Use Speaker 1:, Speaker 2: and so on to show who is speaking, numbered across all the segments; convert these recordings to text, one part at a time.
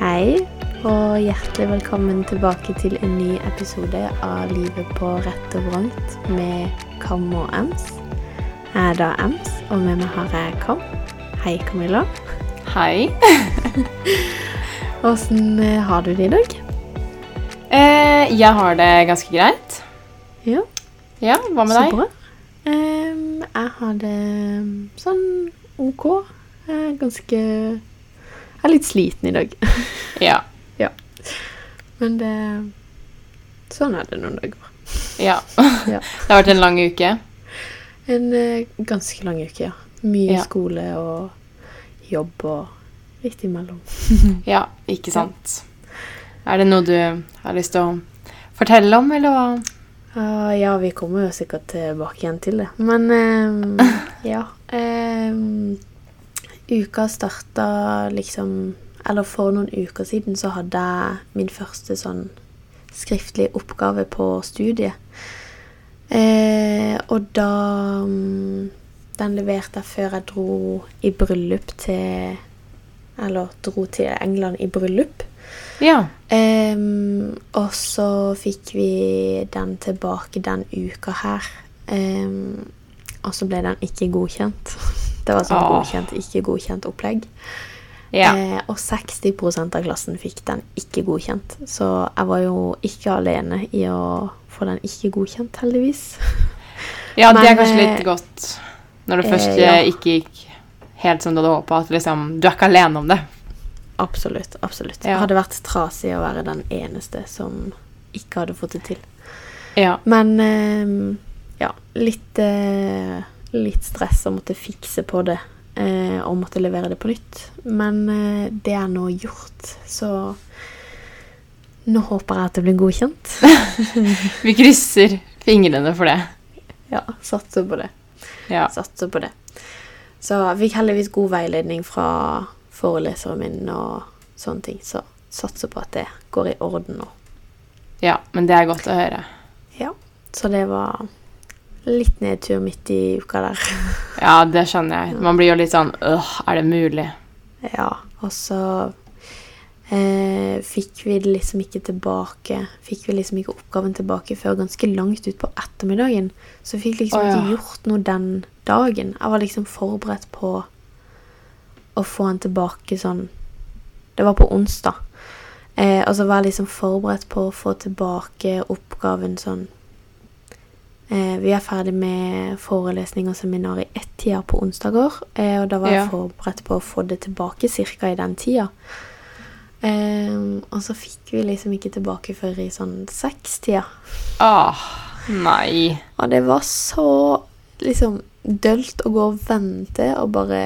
Speaker 1: Hei, og hjertelig velkommen tilbake til en ny episode av Livet på rett og vrangt med Kam og Ems. Jeg er da Ems, og med meg har jeg Kam. Hei, Camilla.
Speaker 2: Hei.
Speaker 1: Åssen eh, har du det i dag?
Speaker 2: Eh, jeg har det ganske greit.
Speaker 1: Ja,
Speaker 2: Ja, hva med
Speaker 1: så
Speaker 2: deg?
Speaker 1: bra. Em, jeg har det sånn OK. Jeg er ganske Jeg er litt sliten i dag.
Speaker 2: Ja.
Speaker 1: Men det Sånn er det noen dager.
Speaker 2: ja.
Speaker 1: Ja.
Speaker 2: Det har vært en lang uke.
Speaker 1: En eh, ganske lang uke, ja. Mye
Speaker 2: Ja.
Speaker 1: skole og jobb og litt imellom.
Speaker 2: Ja, ikke sant. Er det noe du har lyst til å fortelle om, eller hva?
Speaker 1: Ah, ja, vi kommer jo sikkert tilbake igjen til det. Men eh, ja eh, Uka starta liksom Eller for noen uker siden så hadde jeg min første sånn skriftlig oppgave på studiet. Eh, og da mm, Den leverte jeg før jeg dro i bryllup til Eller dro til England i bryllup.
Speaker 2: Ja.
Speaker 1: Ehm, og så fikk vi den tilbake den uka her. Ehm, og så ble den ikke godkjent. Det var sånn
Speaker 2: Åh.
Speaker 1: godkjent, ikke godkjent opplegg.
Speaker 2: Ja.
Speaker 1: Eh, og 60 av klassen fikk den ikke godkjent. Så jeg var jo ikke alene i å få den ikke godkjent, heldigvis.
Speaker 2: ja, det
Speaker 1: men,
Speaker 2: er kanskje
Speaker 1: eh,
Speaker 2: litt godt når det
Speaker 1: eh,
Speaker 2: først
Speaker 1: ja.
Speaker 2: eh, ikke gikk helt som du hadde håpa. At liksom, du er ikke alene om det.
Speaker 1: Absolutt. absolutt.
Speaker 2: Ja.
Speaker 1: Det hadde vært trasig å være den eneste som ikke hadde fått det til.
Speaker 2: Ja.
Speaker 1: Men ehm, ja, litt, eh, litt stress å måtte fikse på det eh, og måtte levere det på nytt. Men eh, det er nå gjort, så nå håper jeg at det blir godkjent.
Speaker 2: Vi krysser fingrene for det.
Speaker 1: ja, satser på det.
Speaker 2: Ja.
Speaker 1: Satser på det. Så jeg fikk heldigvis god veiledning fra foreleseren min og sånne ting, så satser på at det går i orden nå.
Speaker 2: ja. Men det er godt å høre.
Speaker 1: Ja, så det var litt nedtur midt i uka der.
Speaker 2: Ja, det skjønner jeg. Man blir jo litt sånn øh, er det mulig?
Speaker 1: Ja, og så eh, fikk vi det liksom ikke tilbake Fikk vi liksom ikke oppgaven tilbake før ganske langt ut på ettermiddagen. Så jeg fikk liksom
Speaker 2: Å, ja.
Speaker 1: ikke gjort noe den dagen. Jeg var liksom forberedt på å få den tilbake sånn Det var på onsdag. Eh, og så var jeg liksom forberedt på å få tilbake oppgaven sånn eh, Vi er ferdig med forelesning og seminar i ett-tida på onsdager. Eh, og da var jeg
Speaker 2: Ja.
Speaker 1: forberedt på å få det tilbake ca. i den tida. Eh, og så fikk vi liksom ikke tilbake før i sånn sekstida.
Speaker 2: Åh, nei.
Speaker 1: Og det var så liksom dølt å gå og vente og bare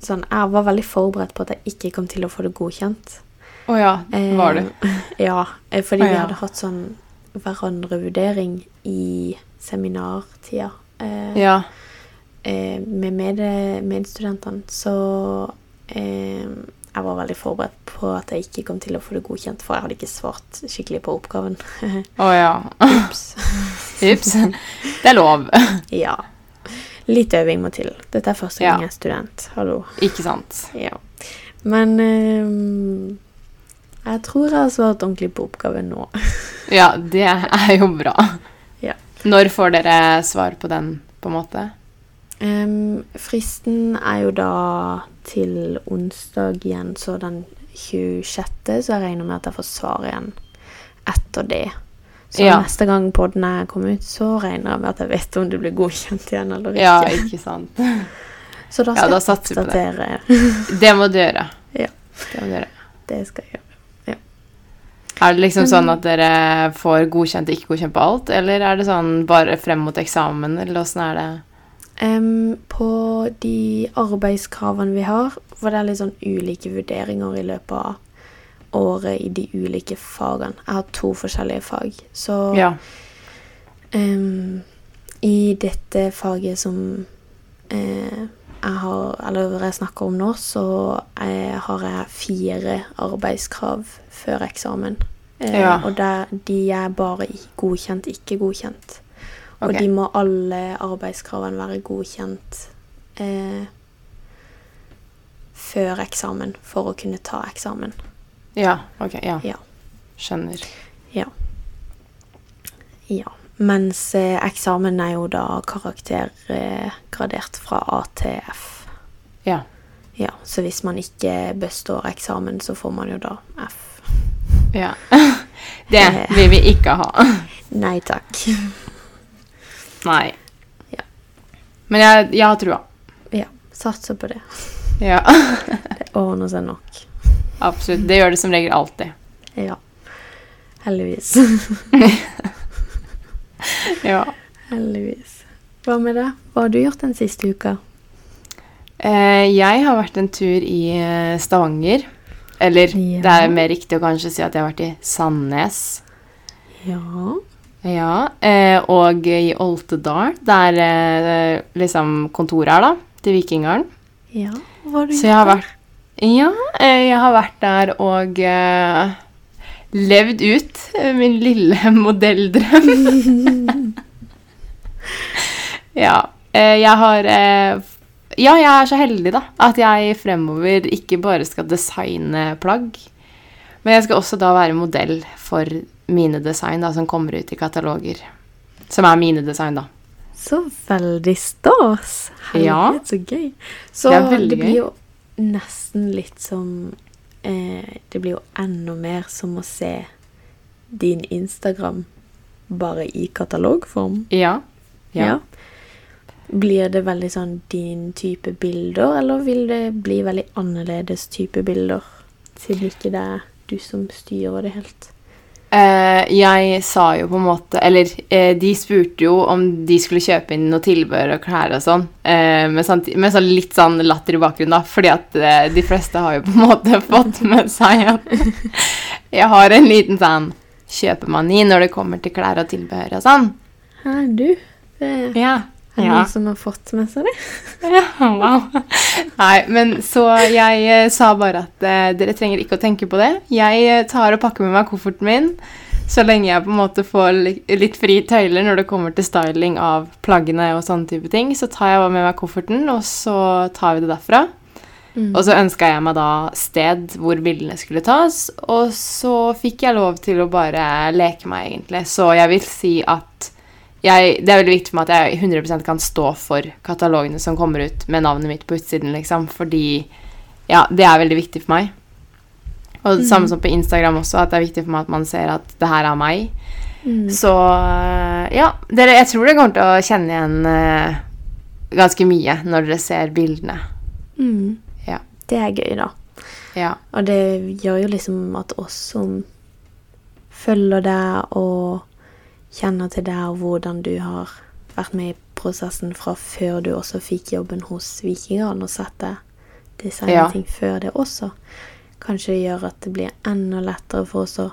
Speaker 1: sånn, Jeg var veldig forberedt på at jeg ikke kom til å få det godkjent.
Speaker 2: Å ja,
Speaker 1: Eh,
Speaker 2: var du?
Speaker 1: Ja, eh, fordi
Speaker 2: Å,
Speaker 1: vi
Speaker 2: ja.
Speaker 1: hadde hatt sånn hverandrevurdering i seminartida. Eh,
Speaker 2: Ja.
Speaker 1: eh, med med, medstudentene, så eh, jeg var veldig forberedt på at jeg ikke kom til å få det godkjent, for jeg hadde ikke svart skikkelig på oppgaven.
Speaker 2: Å ja.
Speaker 1: Ups.
Speaker 2: Ups. Det er lov.
Speaker 1: ja. Litt øving må til. Dette er første gang
Speaker 2: Ja.
Speaker 1: jeg er student. Hallo.
Speaker 2: Ikke sant?
Speaker 1: Ja. Men eh, jeg tror jeg har svart ordentlig på oppgaven nå.
Speaker 2: Ja, det er jo bra.
Speaker 1: Ja.
Speaker 2: Når får dere svar på den, på en måte?
Speaker 1: Em, fristen er jo da til onsdag igjen, så den 26. Så jeg regner med at jeg får svar igjen etter det. Så
Speaker 2: Ja.
Speaker 1: neste gang podden er kommet ut, så regner jeg med at jeg vet om det blir godkjent igjen eller ikke.
Speaker 2: Ja, ikke sant?
Speaker 1: så da
Speaker 2: ja,
Speaker 1: skal
Speaker 2: da
Speaker 1: jeg
Speaker 2: satser vi på
Speaker 1: oppdatere.
Speaker 2: Det må du gjøre.
Speaker 1: Ja.
Speaker 2: Det må du gjøre.
Speaker 1: Det skal jeg gjøre.
Speaker 2: Er det liksom sånn at dere får godkjent og ikke godkjent på alt, eller er det sånn bare frem mot eksamen, eller åssen er det?
Speaker 1: Em, på de arbeidskravene vi har, for det er litt sånn ulike vurderinger i løpet av året i de ulike fagene. Jeg har to forskjellige fag, så
Speaker 2: Ja.
Speaker 1: Ehm, I dette faget som eh, jeg har, eller jeg snakker om nå, så eh, har jeg fire arbeidskrav før eksamen. Eh,
Speaker 2: Ja.
Speaker 1: Og der, de er bare i- godkjent, ikke godkjent. Og
Speaker 2: Ok.
Speaker 1: de må alle arbeidskravene være godkjent eh, før eksamen for å kunne ta eksamen.
Speaker 2: Ja, ok. Ja.
Speaker 1: Ja.
Speaker 2: Skjønner.
Speaker 1: Ja. Mens eh, eksamen er jo da karaktergradert fra A til F.
Speaker 2: Ja.
Speaker 1: Ja, så hvis man ikke består eksamen, så får man jo da F.
Speaker 2: Ja. Det vil vi ikke ha.
Speaker 1: Nei takk.
Speaker 2: Nei.
Speaker 1: Ja.
Speaker 2: Men jeg, jeg har trua.
Speaker 1: Ja, satser på det.
Speaker 2: Ja,
Speaker 1: Det ordner seg nok.
Speaker 2: absolutt. Det gjør det som regel alltid.
Speaker 1: Ja. Heldigvis.
Speaker 2: Ja.
Speaker 1: Heldigvis. Hva med deg? Hva har du gjort den siste uka?
Speaker 2: Eh, jeg har vært en tur i eh, Stavanger. Eller
Speaker 1: Ja.
Speaker 2: det er mer riktig å kanskje si at jeg har vært i Sandnes.
Speaker 1: Ja.
Speaker 2: Ja, eh, og i Oltedal. Det er eh, liksom kontoret her, da. Til Vikingaren.
Speaker 1: Ja, hva har du
Speaker 2: Så jeg har vært Ja, eh, jeg har vært der og eh, levd ut eh, min lille modelldrøm. ja. Eh, jeg har eh, f- Ja, jeg er så heldig, da, at jeg fremover ikke bare skal designe plagg, men jeg skal også da være modell for mine design da, som kommer ut i kataloger. Som er mine design, da.
Speaker 1: Så veldig stas.
Speaker 2: Ja.
Speaker 1: Herlighet, så gøy. Så
Speaker 2: Det
Speaker 1: det,
Speaker 2: er veldig
Speaker 1: blir
Speaker 2: gøy.
Speaker 1: jo nesten litt som eh, Det blir jo enda mer som å se din Instagram bare i katalogform.
Speaker 2: Ja. ja.
Speaker 1: Blir det veldig sånn din type bilder, eller vil det bli veldig annerledes type bilder? Siden ikke det er du som styrer det helt.
Speaker 2: Eh, jeg sa jo på en måte Eller eh, de spurte jo om de skulle kjøpe inn noe tilbehør og klær og sånn. Eh, med, samti- med sånn litt sånn latter i bakgrunnen, da. Fordi at eh, de fleste har jo på en måte fått med seg at jeg har en liten sånn kjøpemani når det kommer til klær og tilbehør og sånn.
Speaker 1: Hæ, du? Det er
Speaker 2: Ja. ja.
Speaker 1: noen som har fått med seg det?
Speaker 2: Ja, wow. Nei, men så jeg eh, sa bare at eh, dere trenger ikke å tenke på det. Jeg eh, tar og pakker med meg kofferten min så lenge jeg på en måte får li- litt fri tøyler når det kommer til styling av plaggene og sånne type ting. Så tar jeg bare med meg kofferten, og så tar vi det derfra.
Speaker 1: Mm.
Speaker 2: Og så ønska jeg meg da sted hvor bildene skulle tas, og så fikk jeg lov til å bare leke meg, egentlig. Så jeg vil si at jeg, det er veldig viktig for meg at jeg 100 kan stå for katalogene som kommer ut med navnet mitt på utsiden, liksom, fordi ja, det er veldig viktig for meg. Og
Speaker 1: Mm.
Speaker 2: det samme som på Instagram også, at det er viktig for meg at man ser at det her er meg.
Speaker 1: Mm.
Speaker 2: Så øh, ja, dere, jeg tror dere kommer til å kjenne igjen øh, ganske mye når dere ser bildene.
Speaker 1: Mm.
Speaker 2: Ja.
Speaker 1: Det er gøy, da.
Speaker 2: Ja.
Speaker 1: Og det gjør jo liksom at oss som følger deg og kjenner til deg og hvordan du har vært med i prosessen fra før du også fikk jobben hos Vikingene og sett deg designe
Speaker 2: Ja.
Speaker 1: ting før det også, kanskje det gjør at det blir enda lettere for oss å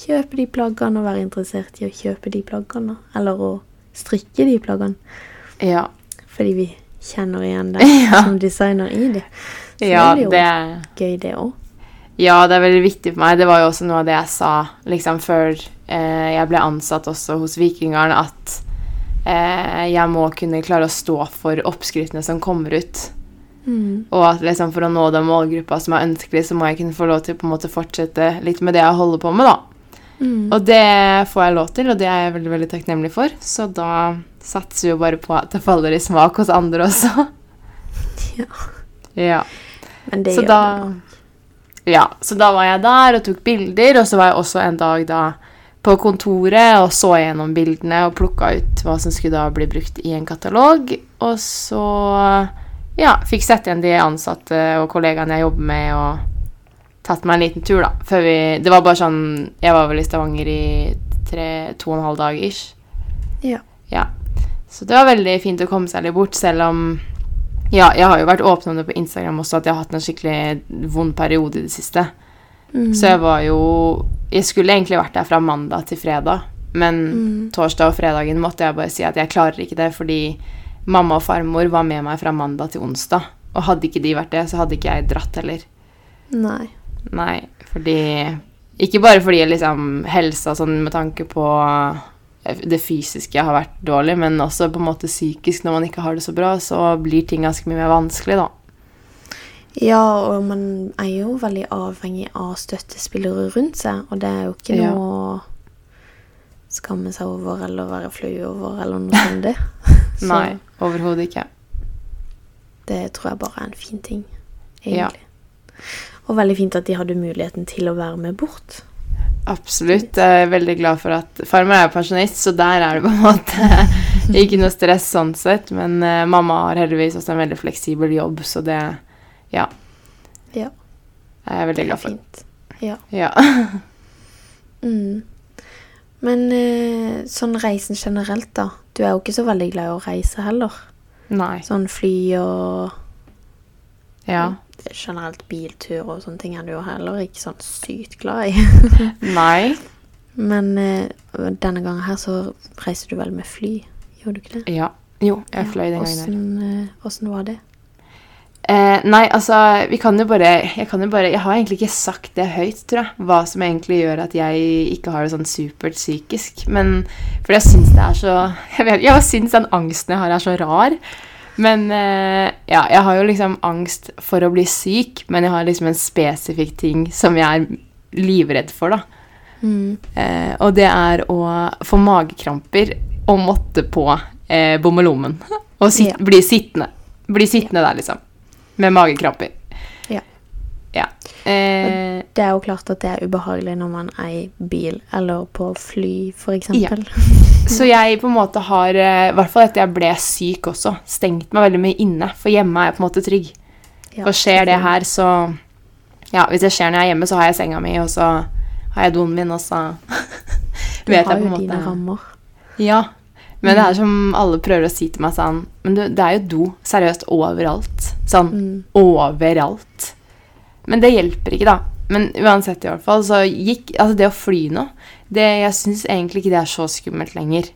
Speaker 1: kjøpe de plaggene og være interessert i å kjøpe de plaggene, eller å strikke de plaggene,
Speaker 2: Ja,
Speaker 1: fordi vi kjenner igjen deg som designer i det. Så
Speaker 2: ja,
Speaker 1: det blir jo
Speaker 2: det,
Speaker 1: gøy det også.
Speaker 2: ja, det er veldig viktig for meg. Det var jo også noe av det jeg sa liksom, før eh, jeg ble ansatt også hos Vikingaren, at eh, jeg må kunne klare å stå for oppskriftene som kommer ut.
Speaker 1: Mm.
Speaker 2: Og at liksom, for å nå den målgruppa som er ønskelig, så må jeg kunne få lov til å på en måte fortsette litt med det jeg holder på med. da.
Speaker 1: Mm.
Speaker 2: Og det får jeg lov til, og det er jeg veldig veldig takknemlig for. Så da satser vi jo bare på at det faller i smak hos andre også.
Speaker 1: Ja.
Speaker 2: Ja.
Speaker 1: Men det
Speaker 2: Så
Speaker 1: gjør
Speaker 2: da
Speaker 1: det.
Speaker 2: Ja, så da var jeg der og tok bilder, og så var jeg også en dag da på kontoret og så gjennom bildene og plukka ut hva som skulle da bli brukt i en katalog. Og så ja, fikk sett igjen de ansatte og kollegaene jeg jobber med, og tatt meg en liten tur, da. Før vi Det var bare sånn Jeg var vel i Stavanger i tre, to og en halv dag ish.
Speaker 1: Ja.
Speaker 2: Ja. Så det var veldig fint å komme seg litt bort, selv om ja, jeg har jo vært åpen om det på Instagram også, at jeg har hatt en skikkelig vond periode i det siste.
Speaker 1: Mm.
Speaker 2: Så jeg var jo Jeg skulle egentlig vært der fra mandag til fredag, men
Speaker 1: Mm.
Speaker 2: torsdag og fredagen måtte jeg bare si at jeg klarer ikke det, fordi mamma og farmor var med meg fra mandag til onsdag. Og hadde ikke de vært det, så hadde ikke jeg dratt heller.
Speaker 1: Nei.
Speaker 2: Nei, fordi Ikke bare fordi liksom, helsa sånn med tanke på eh, det fysiske har vært dårlig, men også på en måte psykisk når man ikke har det så bra, så blir ting ganske mye mer vanskelig, da.
Speaker 1: Ja, og man er jo veldig avhengig av støttespillere rundt seg, og det er jo ikke
Speaker 2: Ja.
Speaker 1: noe å skamme seg over eller være flau over eller noe sånt. det. Så
Speaker 2: Nei, overhodet ikke.
Speaker 1: det tror jeg bare er en fin ting, egentlig. Og veldig fint at de hadde muligheten til å være med bort.
Speaker 2: Absolutt. Jeg er veldig glad for at Farmer er jo pensjonist, så der er det på en måte ikke noe stress sånn sett. Men eh, mamma har heldigvis også en veldig fleksibel jobb, så det ja,
Speaker 1: Ja,
Speaker 2: jeg er veldig glad for.
Speaker 1: fint. Ja.
Speaker 2: Ja.
Speaker 1: Mm. Men eh, sånn reisen generelt, da. Du er jo ikke så veldig glad i å reise heller.
Speaker 2: Nei.
Speaker 1: Sånn fly og
Speaker 2: Ja.
Speaker 1: generelt biltur og sånne ting er du jo heller ikke sånn sykt glad i.
Speaker 2: Nei.
Speaker 1: Men eh, denne gangen her så reiste du vel med fly, gjorde du ikke det?
Speaker 2: Ja. Jo, jeg fløy den gangen der.
Speaker 1: der. Åssen var det?
Speaker 2: Eh, nei, altså, vi kan jo bare Jeg kan jo bare Jeg har egentlig ikke sagt det høyt, tror jeg, hva som egentlig gjør at jeg ikke har det sånn supert psykisk. Men fordi jeg syns det er så Jeg vet Jeg syns den angsten jeg har, er så rar. Men eh, ja, jeg har jo liksom angst for å bli syk, men jeg har liksom en spesifikk ting som jeg er livredd for, da.
Speaker 1: Mm.
Speaker 2: Eh, og det er å få magekramper og måtte på eh, bommelommen. Og sit,
Speaker 1: Ja.
Speaker 2: bli sittende. Bli sittende der, liksom. Med magekramper.
Speaker 1: Ja.
Speaker 2: Ja. Eh,
Speaker 1: Det er jo klart at det er ubehagelig når man er i bil eller på fly, for eksempel.
Speaker 2: så jeg på en måte har, eh, i hvert fall etter jeg ble syk også, stengt meg veldig mye inne. For hjemme er jeg på en måte trygg.
Speaker 1: Ja.
Speaker 2: Og skjer det her, så Ja, hvis det skjer når jeg er hjemme, så har jeg senga mi, og så har jeg doen min, og så
Speaker 1: altså, Du
Speaker 2: vet jeg
Speaker 1: har
Speaker 2: på en
Speaker 1: jo
Speaker 2: måte-
Speaker 1: dine rammer.
Speaker 2: Ja, men
Speaker 1: Mm.
Speaker 2: det er som alle prøver å si til meg sånn Men du, det er jo do, seriøst, overalt. Sånn
Speaker 1: Mm.
Speaker 2: overalt. Men det hjelper ikke, da. Men uansett, i hvert fall, så gikk Altså, det å fly nå det, Jeg syns egentlig ikke det er så skummelt lenger.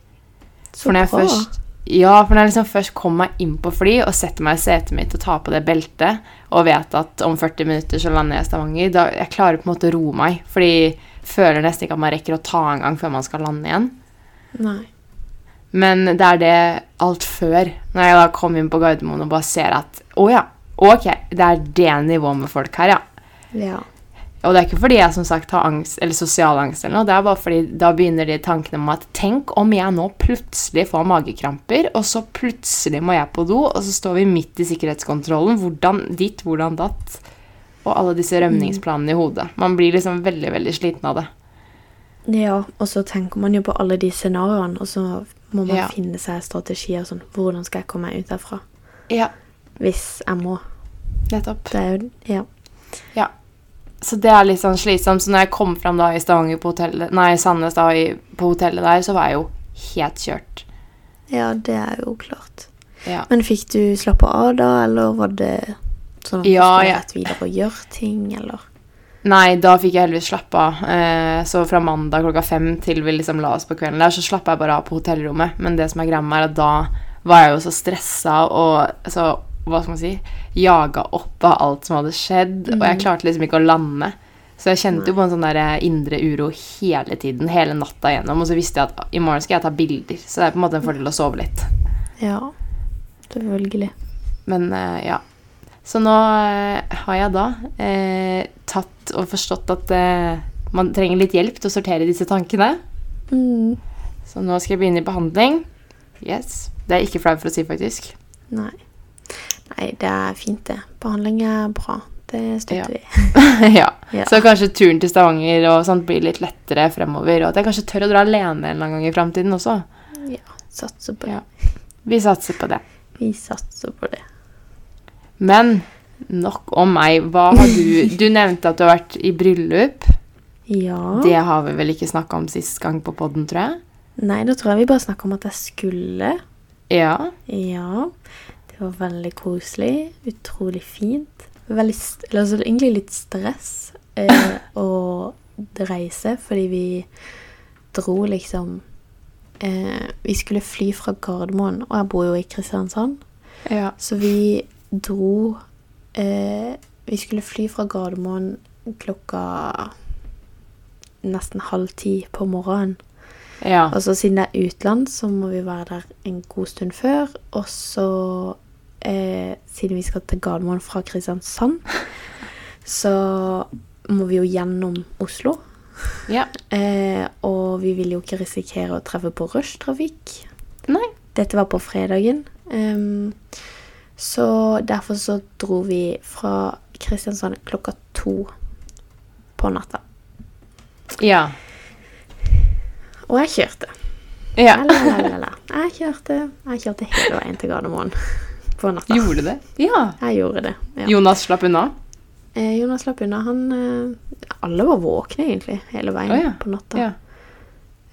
Speaker 1: Så
Speaker 2: For når jeg
Speaker 1: bra.
Speaker 2: først ja, for når jeg liksom først kommer meg inn på fly og setter meg i setet mitt og tar på det beltet og vet at om 40 minutter så lander jeg i Stavanger, da jeg klarer på en måte å roe meg. Fordi jeg føler nesten ikke at man rekker å ta en gang før man skal lande igjen.
Speaker 1: Nei.
Speaker 2: Men det er det alt før, når jeg da kom inn på Gardermoen og bare ser at å ja, ok, det er det nivået med folk her, ja.
Speaker 1: Ja.
Speaker 2: Og det er ikke fordi jeg som sagt har angst, eller sosial angst eller noe, det er bare fordi da begynner de tankene om at tenk om jeg nå plutselig får magekramper, og så plutselig må jeg på do, og så står vi midt i sikkerhetskontrollen, hvordan ditt, hvordan datt, og alle disse rømningsplanene i hodet. Man blir liksom veldig, veldig sliten av det.
Speaker 1: Ja, og så tenker man jo på alle de scenarioene, og så må man
Speaker 2: Ja.
Speaker 1: finne seg strategier sånn Hvordan skal jeg komme meg ut derfra?
Speaker 2: Ja,
Speaker 1: Hvis jeg må.
Speaker 2: nettopp.
Speaker 1: Det er jo Ja.
Speaker 2: Så det er litt sånn slitsomt. Så når jeg kom fram da i Stavanger på hotellet, nei, Sandnes da i, på hotellet der, så var jeg jo helt kjørt.
Speaker 1: ja, det er jo klart.
Speaker 2: Ja.
Speaker 1: Men fikk du slappe av da, eller var det sånn at
Speaker 2: Ja,
Speaker 1: du skulle
Speaker 2: ja.
Speaker 1: rett videre og gjøre ting, eller?
Speaker 2: Nei, da fikk jeg heldigvis slappe av. Eh, så fra mandag klokka fem til vi liksom la oss på kvelden der, så slappa jeg bare av på hotellrommet. Men det som er greia med meg, er at da var jeg jo så stressa og så hva skal man si, jaga opp av alt som hadde skjedd, og jeg klarte liksom ikke å lande. Så jeg kjente jo på en sånn der indre uro hele tiden, hele natta igjennom. Og så visste jeg at i morgen skal jeg ta bilder, så det er på en måte en fordel å sove litt.
Speaker 1: Ja, selvfølgelig.
Speaker 2: Men eh, ja. Så nå eh, har jeg da eh, tatt og forstått at eh, man trenger litt hjelp til å sortere disse tankene.
Speaker 1: Mm.
Speaker 2: Så nå skal jeg begynne i behandling. Yes. Det er jeg ikke flau for å si, faktisk.
Speaker 1: Nei. Nei, det er fint, det. Behandling er bra. Det
Speaker 2: Ja.
Speaker 1: støtter vi.
Speaker 2: ja.
Speaker 1: Ja.
Speaker 2: Så kanskje turen til Stavanger og sånt blir litt lettere fremover. Og at jeg kanskje tør å dra alene en eller annen gang i framtiden også.
Speaker 1: Ja, satser på det.
Speaker 2: Ja. Vi satser på det.
Speaker 1: Vi satser på det.
Speaker 2: Men nok om meg. Hva har du Du nevnte at du har vært i bryllup.
Speaker 1: Ja.
Speaker 2: Det har vi vel ikke snakka om sist gang på podden, tror jeg.
Speaker 1: Nei, da tror jeg vi bare snakker om at jeg skulle.
Speaker 2: Ja.
Speaker 1: Ja. Det var veldig koselig. Utrolig fint. Veldig, st- eller altså, egentlig litt stress eh, å reise, fordi vi dro liksom eh, Vi skulle fly fra Gardermoen, og jeg bor jo i Kristiansand.
Speaker 2: ja.
Speaker 1: Så vi dro eh, Vi skulle fly fra Gardermoen klokka nesten halv ti på morgenen.
Speaker 2: Ja.
Speaker 1: Og så siden det er utland, så må vi være der en god stund før. Og så eh, siden vi skal til Gardermoen fra Kristiansand, så må vi jo gjennom Oslo.
Speaker 2: Ja.
Speaker 1: Eh, og vi vil jo ikke risikere å treffe på rushtrafikk.
Speaker 2: Nei.
Speaker 1: Dette var på fredagen. Ehm, så derfor så dro vi fra Kristiansand klokka to på natta.
Speaker 2: Ja.
Speaker 1: Og jeg kjørte.
Speaker 2: ja.
Speaker 1: Lalalala. Jeg kjørte Jeg kjørte hele veien til Gardermoen på natta.
Speaker 2: Gjorde det? Ja.
Speaker 1: Jeg gjorde det. ja.
Speaker 2: Jonas slapp unna?
Speaker 1: Eh, Jonas slapp unna. Han eh, Alle var våkne, egentlig, hele veien
Speaker 2: Å, ja.
Speaker 1: på natta.
Speaker 2: Ja.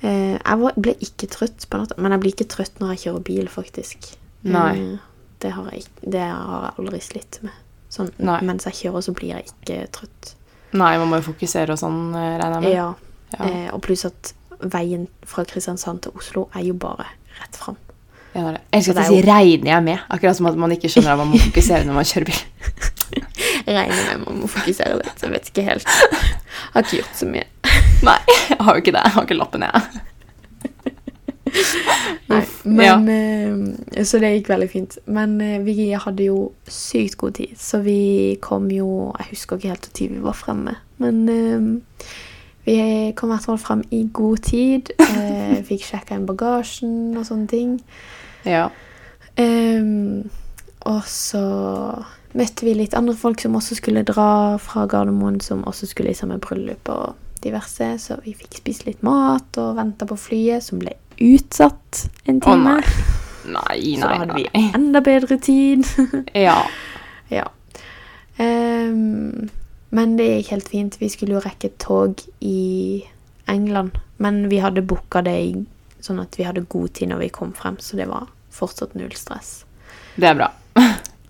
Speaker 1: Eh, jeg var, ble ikke trøtt på natta, men jeg blir ikke trøtt når jeg kjører bil, faktisk.
Speaker 2: Nei.
Speaker 1: Eh, det, har jeg, ikk- det har jeg aldri slitt med. Sånn,
Speaker 2: Nei.
Speaker 1: mens jeg kjører, så blir jeg ikke trøtt.
Speaker 2: Nei, man må jo fokusere og sånn, eh, regner jeg med.
Speaker 1: Ja.
Speaker 2: Ja.
Speaker 1: Eh, og pluss at veien fra Kristiansand til Oslo er jo bare rett fram.
Speaker 2: Ja, det er det.
Speaker 1: Så
Speaker 2: Jeg elsker
Speaker 1: det
Speaker 2: at
Speaker 1: er
Speaker 2: jeg sier 'regner jeg med', akkurat som at man ikke skjønner at man må fokusere når man kjører bil.
Speaker 1: Regner med man må fokusere litt. Jeg vet ikke helt. Jeg har ikke gjort så mye.
Speaker 2: Nei, jeg har jo ikke det. Jeg har ikke lappen, jeg.
Speaker 1: Nei, men, eh, så det gikk veldig fint. Men eh, vi hadde jo sykt god tid, så vi kom jo Jeg husker ikke helt når vi var fremme, men eh, vi kom i hvert fall frem i god tid. Eh, fikk sjekka inn bagasjen og sånne ting.
Speaker 2: Ja.
Speaker 1: Ehm, og så møtte vi litt andre folk som også skulle dra fra Gardermoen, som også skulle i samme bryllup og diverse, så vi fikk spist litt mat og venta på flyet, som ble utsatt en
Speaker 2: Å,
Speaker 1: time.
Speaker 2: nei. Nei,
Speaker 1: så da hadde
Speaker 2: nei,
Speaker 1: vi
Speaker 2: nei.
Speaker 1: enda bedre tid.
Speaker 2: Ja.
Speaker 1: ja. Ehm, men det gikk helt fint. Vi skulle jo rekke et tog i England, men vi hadde booka det i, sånn at vi hadde god tid når vi kom frem, så det var fortsatt null stress.
Speaker 2: Det er bra.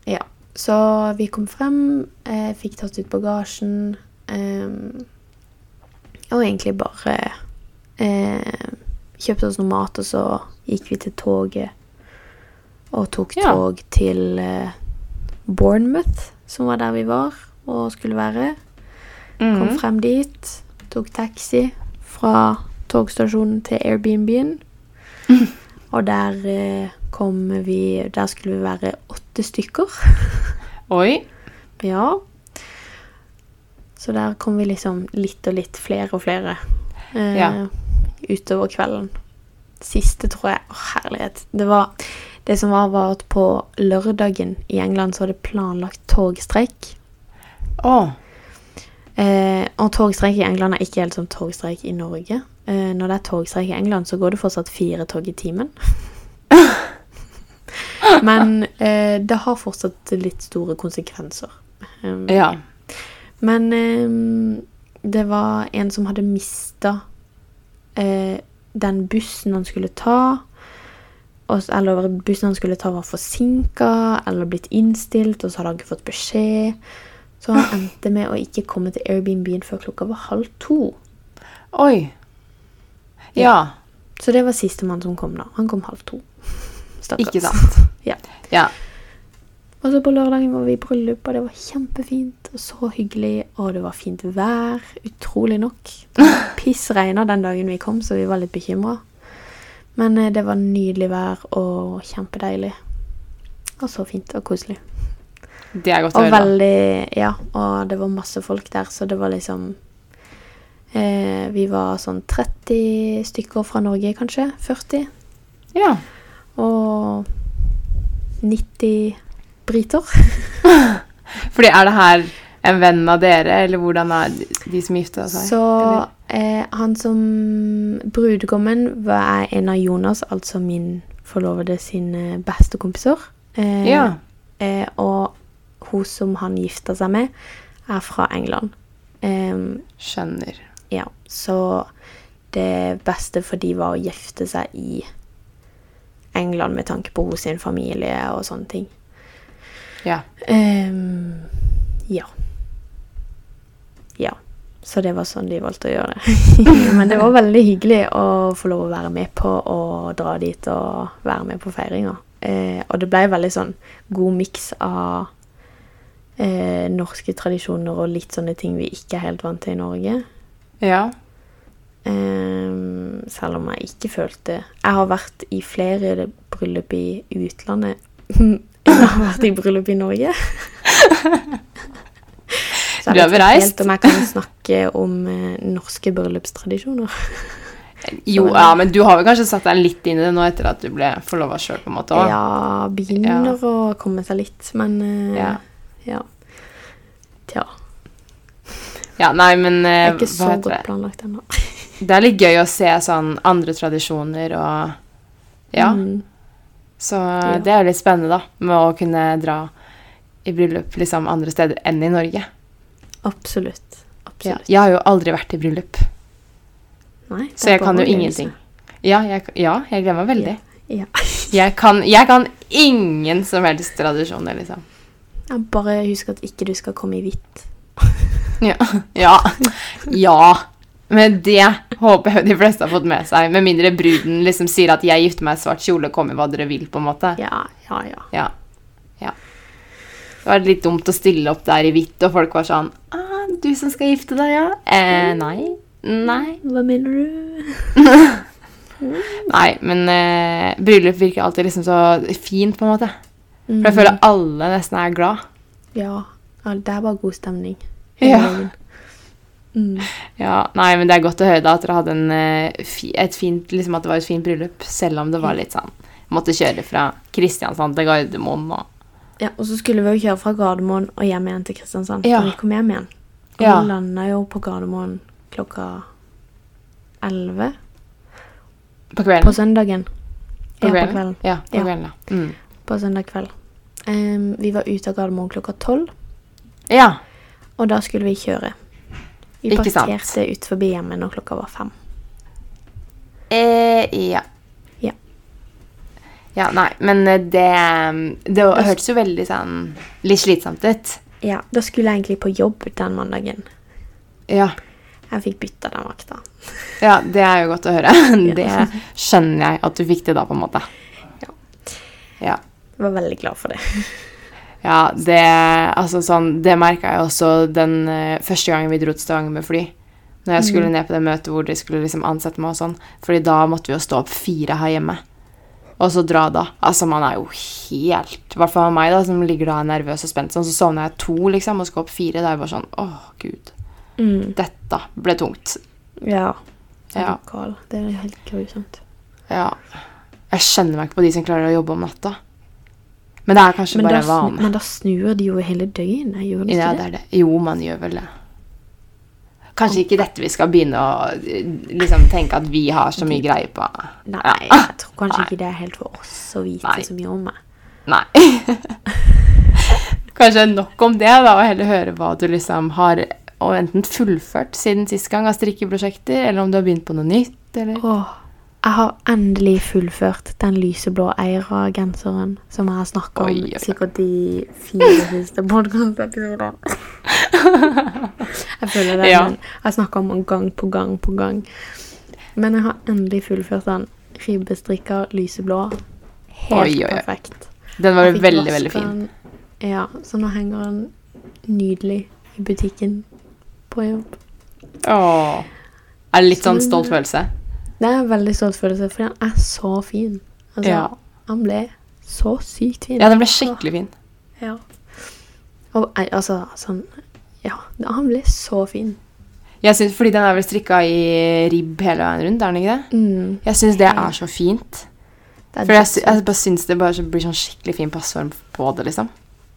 Speaker 1: Ja, så vi kom frem, eh, fikk tatt ut bagasjen, ehm, og egentlig bare eh, kjøpte oss noe mat, og så gikk vi til toget, og tok
Speaker 2: Ja.
Speaker 1: tog til eh, Bournemouth, som var der vi var, og skulle være. Kom
Speaker 2: Mhm.
Speaker 1: frem dit, tok taxi fra togstasjonen til Airbnb-en, og der eh, kom vi, der skulle vi være åtte stykker.
Speaker 2: Oi.
Speaker 1: Ja. Så der kom vi liksom litt og litt, flere og flere, eh,
Speaker 2: Ja.
Speaker 1: utover kvelden. Siste, tror jeg. Å, herlighet. Det, var, det som var, var at på lørdagen i England så var det planlagt togstreik.
Speaker 2: Å.
Speaker 1: Eh, og togstreik i England er ikke helt som togstreik i Norge. Eh, når det er togstreik i England, så går det fortsatt fire tog i timen. Men eh, det har fortsatt litt store konsekvenser. Um,
Speaker 2: Ja.
Speaker 1: Men eh, det var en som hadde mista eh, den bussen han skulle ta. Og, s- eller bussen han skulle ta, var forsinka eller blitt innstilt, og så hadde han ikke fått beskjed. Så han endte med å ikke komme til Airbnb-en før klokka var halv to.
Speaker 2: Oi. Ja.
Speaker 1: Så det var sistemann som kom, da. Han kom halv to. Stakkars.
Speaker 2: Ikke sant.
Speaker 1: Ja.
Speaker 2: Ja.
Speaker 1: Og så på lørdagen var vi i bryllup, og det var kjempefint og så hyggelig. Og det var fint vær, utrolig nok. Pissregna den dagen vi kom, så vi var litt bekymra. Men eh, det var nydelig vær og kjempedeilig. Og så fint og koselig.
Speaker 2: Det er godt å
Speaker 1: Og
Speaker 2: høre. da.
Speaker 1: veldig Ja, og det var masse folk der, så det var liksom eh, Vi var sånn 30 stykker fra Norge, kanskje. 40.
Speaker 2: Ja.
Speaker 1: Og 90 briter.
Speaker 2: Fordi er det her en venn av dere, eller hvordan er de som gifta seg?
Speaker 1: Så
Speaker 2: Eller?
Speaker 1: eh, han som brudgommen var en av Jonas, altså min forlovede sine beste kompiser. Eh,
Speaker 2: Ja.
Speaker 1: eh, og hun som han gifta seg med, er fra England. Eh,
Speaker 2: Skjønner.
Speaker 1: ja, så det beste for de var å gifte seg i England med tanke på hos sin familie og sånne ting.
Speaker 2: Ja.
Speaker 1: Ehm, ja. Ja. Så det var sånn de valgte å gjøre det. Men det var veldig hyggelig å få lov å være med på å dra dit og være med på feiringa. Eh, og det ble veldig sånn god miks av eh, norske tradisjoner og litt sånne ting vi ikke er helt vant til i Norge.
Speaker 2: Ja.
Speaker 1: Ehm, selv om jeg ikke følte Jeg har vært i flere bryllup i utlandet. Jeg har vært i bryllup i Norge. Så jeg
Speaker 2: Du har
Speaker 1: vet ikke
Speaker 2: reist.
Speaker 1: helt Om jeg kan snakke om eh, norske bryllupstradisjoner.
Speaker 2: Jo, ja, men du har vel kanskje satt deg litt inn i det nå etter at du ble forlova sjøl, på en måte òg?
Speaker 1: Ja, begynner å komme seg litt, men eh,
Speaker 2: Ja.
Speaker 1: ja. Tja.
Speaker 2: Ja, nei, men
Speaker 1: Det
Speaker 2: eh,
Speaker 1: er ikke
Speaker 2: hva
Speaker 1: så
Speaker 2: heter det?
Speaker 1: godt planlagt ennå.
Speaker 2: Det er litt gøy å se sånn andre tradisjoner og Ja.
Speaker 1: Mm.
Speaker 2: Så det er jo litt spennende, da, med å kunne dra i bryllup liksom andre steder enn i Norge.
Speaker 1: Absolutt.
Speaker 2: Ja,
Speaker 1: Absolutt.
Speaker 2: jeg har jo aldri vært i bryllup,
Speaker 1: Nei, det
Speaker 2: så
Speaker 1: er
Speaker 2: jeg kan
Speaker 1: bare å
Speaker 2: jo
Speaker 1: glede
Speaker 2: ingenting. Ja, jeg, ja, jeg glemmer veldig.
Speaker 1: seg. Ja.
Speaker 2: Jeg kan, jeg kan ingen som helst tradisjoner, liksom.
Speaker 1: Jeg bare husk at ikke du skal komme i hvitt.
Speaker 2: Ja. ja. ja. Men det håper jeg de fleste har fått med seg. Med mindre bruden liksom sier at 'jeg gifter meg i svart kjole, kom i hva dere vil'. på en måte.
Speaker 1: Ja, ja, ja.
Speaker 2: Ja. ja. Det var litt dumt å stille opp der i hvitt, og folk var sånn ah, 'Du som skal gifte deg, ja?' Eh, nei. Nei.
Speaker 1: Hva mener du?
Speaker 2: Nei, men eh, bryllup virker alltid liksom så fint, på en måte. For jeg føler alle nesten er glad.
Speaker 1: Mm, Ja, ja, det er bare god stemning.
Speaker 2: Ja.
Speaker 1: Hele veien. Mm.
Speaker 2: Ja, nei, men det er godt å høre da at dere hadde en, eh, fi, et fint, liksom at det var et fint bryllup, selv om det var litt sånn Måtte kjøre fra Kristiansand til Gardermoen og
Speaker 1: Ja, og så skulle vi jo kjøre fra Gardermoen og hjem igjen til Kristiansand.
Speaker 2: Ja.
Speaker 1: Ja. vi kom hjem igjen. Og
Speaker 2: Ja.
Speaker 1: vi landa jo på Gardermoen klokka 11
Speaker 2: På
Speaker 1: på
Speaker 2: kvelden.
Speaker 1: søndagen. Ja, på kvelden.
Speaker 2: Ja, på
Speaker 1: Ja.
Speaker 2: kvelden, ja. Mm.
Speaker 1: På søndag kveld. Em, vi var ute av Gardermoen klokka 12,
Speaker 2: ja.
Speaker 1: og da skulle vi kjøre. Vi
Speaker 2: Ikke sant.
Speaker 1: parkerte ut forbi hjemmet når klokka var fem.
Speaker 2: Eh, ja.
Speaker 1: Ja.
Speaker 2: Ja, nei, men eh, det Det hørtes jo veldig sånn Litt slitsomt ut.
Speaker 1: Ja, Da skulle jeg egentlig på jobb den mandagen.
Speaker 2: Ja.
Speaker 1: Jeg fikk bytta den vakta.
Speaker 2: ja. Det er jo godt å høre. Det skjønner jeg at du fikk det da, på en måte.
Speaker 1: Ja.
Speaker 2: Ja.
Speaker 1: Jeg var veldig glad for det.
Speaker 2: Ja, det Altså sånn Det merka jeg også den eh, første gangen vi dro til Stavanger med fly. Når jeg
Speaker 1: Mhm.
Speaker 2: skulle ned på det møtet hvor de skulle liksom ansette meg og sånn. Fordi da måtte vi jo stå opp fire her hjemme. Og så dra da. Altså, man er jo helt I hvert fall meg, da, som ligger da nervøs og spent sånn. Så sovner jeg to, liksom, og skal opp fire. Da er jeg bare sånn Åh, gud.
Speaker 1: Mm.
Speaker 2: Dette ble tungt.
Speaker 1: Ja. Jeg
Speaker 2: Ja.
Speaker 1: er gal. Det er helt grusomt.
Speaker 2: Ja. Jeg skjønner meg ikke på de som klarer å jobbe om natta. Men det er kanskje
Speaker 1: Men da,
Speaker 2: bare en
Speaker 1: snu,
Speaker 2: vane.
Speaker 1: men da snur de jo hele døgnet. Gjør de ikke
Speaker 2: Ja,
Speaker 1: det?
Speaker 2: det er det. Jo, man gjør vel det. Kanskje ikke dette vi skal begynne å eh, liksom, tenke at vi har så mye greie på.
Speaker 1: Nei,
Speaker 2: Ja.
Speaker 1: jeg tror kanskje
Speaker 2: Ah! Nei.
Speaker 1: ikke det er helt for oss å vite
Speaker 2: Nei.
Speaker 1: så mye om det.
Speaker 2: Nei. Kanskje nok om det, da, og heller høre hva du liksom har og enten fullført siden sist gang av strikkeprosjekter, eller om du har begynt på noe nytt. Eller?
Speaker 1: Åh, jeg har endelig fullført den lyseblå Eira-genseren som jeg har snakka om
Speaker 2: Oi, oi, oi.
Speaker 1: sikkert de fire siste podkastepisodene. jeg føler det,
Speaker 2: Ja.
Speaker 1: men jeg snakker om den gang på gang på gang. Men jeg har endelig fullført den ribbestrikka lyseblå. Helt
Speaker 2: Oi, oi, oi.
Speaker 1: perfekt.
Speaker 2: Den var
Speaker 1: Jeg
Speaker 2: jo
Speaker 1: fikk
Speaker 2: veldig,
Speaker 1: vasket
Speaker 2: veldig fin.
Speaker 1: den- Ja, så nå henger den nydelig i butikken på jobb.
Speaker 2: Åh. Er det litt sånn
Speaker 1: Så-
Speaker 2: stolt følelse?
Speaker 1: Det er en veldig stolt følelse, for den er så fin. Altså,
Speaker 2: Ja.
Speaker 1: Han ble så sykt fin.
Speaker 2: Ja, den ble skikkelig fin.
Speaker 1: Ja. Og, nei, altså, sånn Ja, han ble så fin.
Speaker 2: Jeg synes, fordi den er vel strikka i ribb hele veien rundt, er den ikke det?
Speaker 1: Mm,
Speaker 2: Jeg syns det er så fint.
Speaker 1: det, er
Speaker 2: For jeg,
Speaker 1: dødsfint.
Speaker 2: sy- altså- jeg bare syns det bare så blir sånn skikkelig fin passform på det, liksom.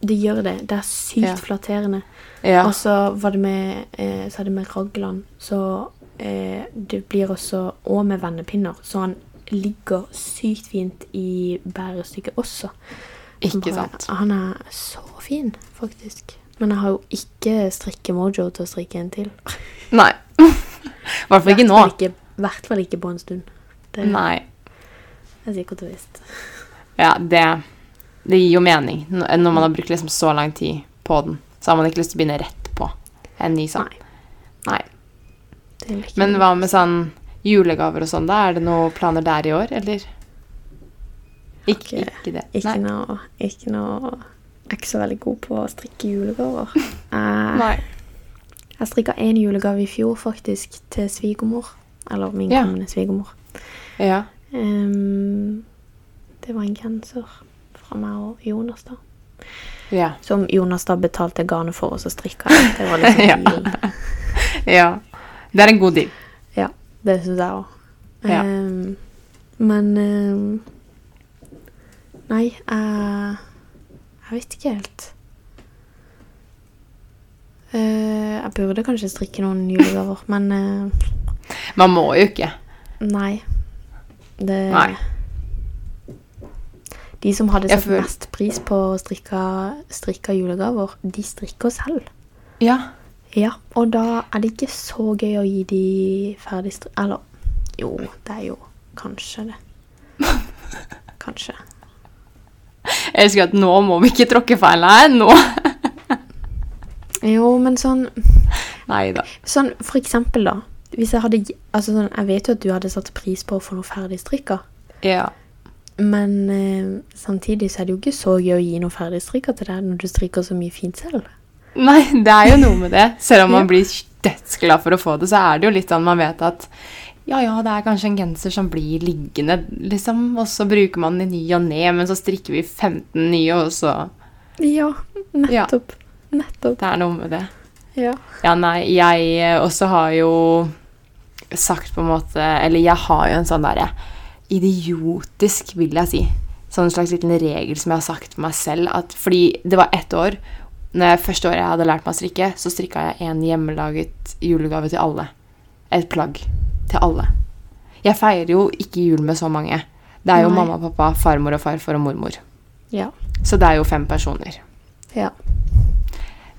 Speaker 1: det gjør det. Det er sykt
Speaker 2: Ja.
Speaker 1: flatterende.
Speaker 2: Ja.
Speaker 1: Og så var det med eh, Så er det med raglan, så eh, det blir også Og med vennepinner, så han ligger sykt fint i bærestykket også. Han
Speaker 2: Ikke
Speaker 1: bare-
Speaker 2: sant.
Speaker 1: Han er så fin, faktisk. Men jeg har jo ikke strikkemojo til å strikke en til.
Speaker 2: Nei. I hvert fall ikke nå.
Speaker 1: Hvertfall ikke- Hvertfall ikke på en stund. Det
Speaker 2: Nei.
Speaker 1: er sikkert og visst.
Speaker 2: Ja, det, det gir jo mening N- når man har brukt liksom så lang tid på den. Så har man ikke lyst til å begynne rett på en ny sang.
Speaker 1: Nei.
Speaker 2: Nei.
Speaker 1: Det er ikke-
Speaker 2: Men hva med sånn julegaver og sånn, da? Er det noen planer der i år, eller? Ikke,
Speaker 1: Ikke-
Speaker 2: ikke det.
Speaker 1: Ikke
Speaker 2: Nei.
Speaker 1: noe, ikke noe Jeg er ikke så veldig god på å strikke julegaver. Eh, Jeg,
Speaker 2: Nei.
Speaker 1: jeg strikka én julegave i fjor, faktisk, til svigermor. Eller min
Speaker 2: Ja.
Speaker 1: kommende svigermor.
Speaker 2: Ja.
Speaker 1: Ehm, det var en genser fra meg og Jonas, da.
Speaker 2: Ja.
Speaker 1: Som Jonas da betalte garnet for, og så strikka jeg. Det var liksom
Speaker 2: Ja.
Speaker 1: dealen.
Speaker 2: ja. Det er en god deal.
Speaker 1: Ja, det syns jeg òg.
Speaker 2: Ja.
Speaker 1: Ehm, men ehm, Nei, jeg Jeg vet ikke helt. Eh, jeg burde kanskje strikke noen julegaver, men eh,
Speaker 2: Man må jo ikke.
Speaker 1: nei. Det
Speaker 2: Nei.
Speaker 1: De som hadde
Speaker 2: Jeg
Speaker 1: satt
Speaker 2: føl-
Speaker 1: mest pris på strikka, strikka julegaver, de strikker selv.
Speaker 2: Ja.
Speaker 1: Ja, og da er det ikke så gøy å gi de ferdig stri... Eller jo, det er jo kanskje det. Kanskje.
Speaker 2: Jeg husker at nå må vi ikke tråkke feil her. Nå.
Speaker 1: Jo, men sånn,
Speaker 2: Nei da.
Speaker 1: sånn For eksempel, da. Hvis jeg hadde gi- Altså sånn, jeg vet jo at du hadde satt pris på å få noe ferdigstrikka,
Speaker 2: Ja.
Speaker 1: men eh, samtidig så er det jo ikke så gøy å gi noe ferdigstrikka til deg når du strikker så mye fint selv.
Speaker 2: Nei, det er jo noe med det. Selv om
Speaker 1: Ja.
Speaker 2: man blir dødsglad for å få det, så er det jo litt sånn man vet at ja, ja, det er kanskje en genser som blir liggende, liksom, og så bruker man den i ny og ne, men så strikker vi 15 nye, og så
Speaker 1: Ja, nettopp. Nettopp.
Speaker 2: Det er noe med det.
Speaker 1: Ja.
Speaker 2: Ja, nei, jeg eh, også har jo sagt på en måte Eller jeg har jo en sånn derre idiotisk, vil jeg si. Sånn slags liten regel som jeg har sagt til meg selv. At, fordi det var ett år. Når jeg, første året jeg hadde lært meg å strikke, så strikka jeg en hjemmelaget julegave til alle. Et plagg til alle. Jeg feirer jo ikke jul med så mange. Det er jo
Speaker 1: Nei.
Speaker 2: mamma og pappa, farmor og farfar og mormor.
Speaker 1: Ja.
Speaker 2: Så det er jo fem personer.
Speaker 1: Ja.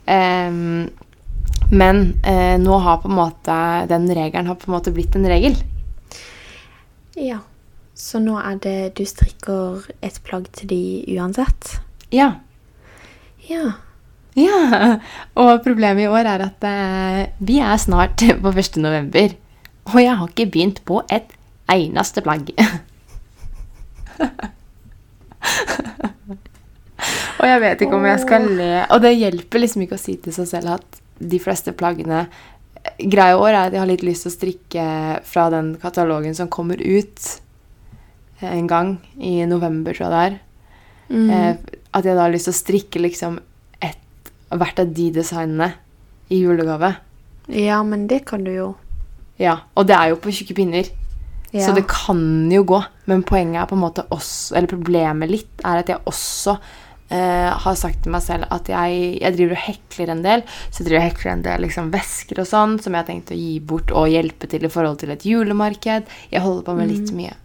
Speaker 2: Ehm, men eh, nå har på en måte den regelen har på en måte blitt en regel.
Speaker 1: ja. Så nå er det Du strikker et plagg til de uansett?
Speaker 2: Ja.
Speaker 1: Ja.
Speaker 2: ja. Og problemet i år er at eh, vi er snart på 1. november. Og jeg har ikke begynt på et eneste plagg. og jeg vet ikke om jeg skal le. Og det hjelper liksom ikke å si til seg selv at de fleste plaggene eh, Greia i år er at jeg har litt lyst til å strikke fra den katalogen som kommer ut eh, en gang i november, tror jeg det er.
Speaker 1: Mm.
Speaker 2: Eh, at jeg da har lyst til å strikke liksom ett, hvert av de designene i julegave.
Speaker 1: Ja, men det kan du jo.
Speaker 2: Ja, Og det er jo på tjukke pinner,
Speaker 1: Ja.
Speaker 2: så det kan jo gå. Men poenget er på en måte også, eller problemet litt er at jeg også eh, har sagt til meg selv at jeg, jeg driver og hekler en del. Så jeg driver og hekler en del liksom, vesker og sånn som jeg har tenkt å gi bort og hjelpe til i forhold til et julemarked. Jeg holder på med litt mye.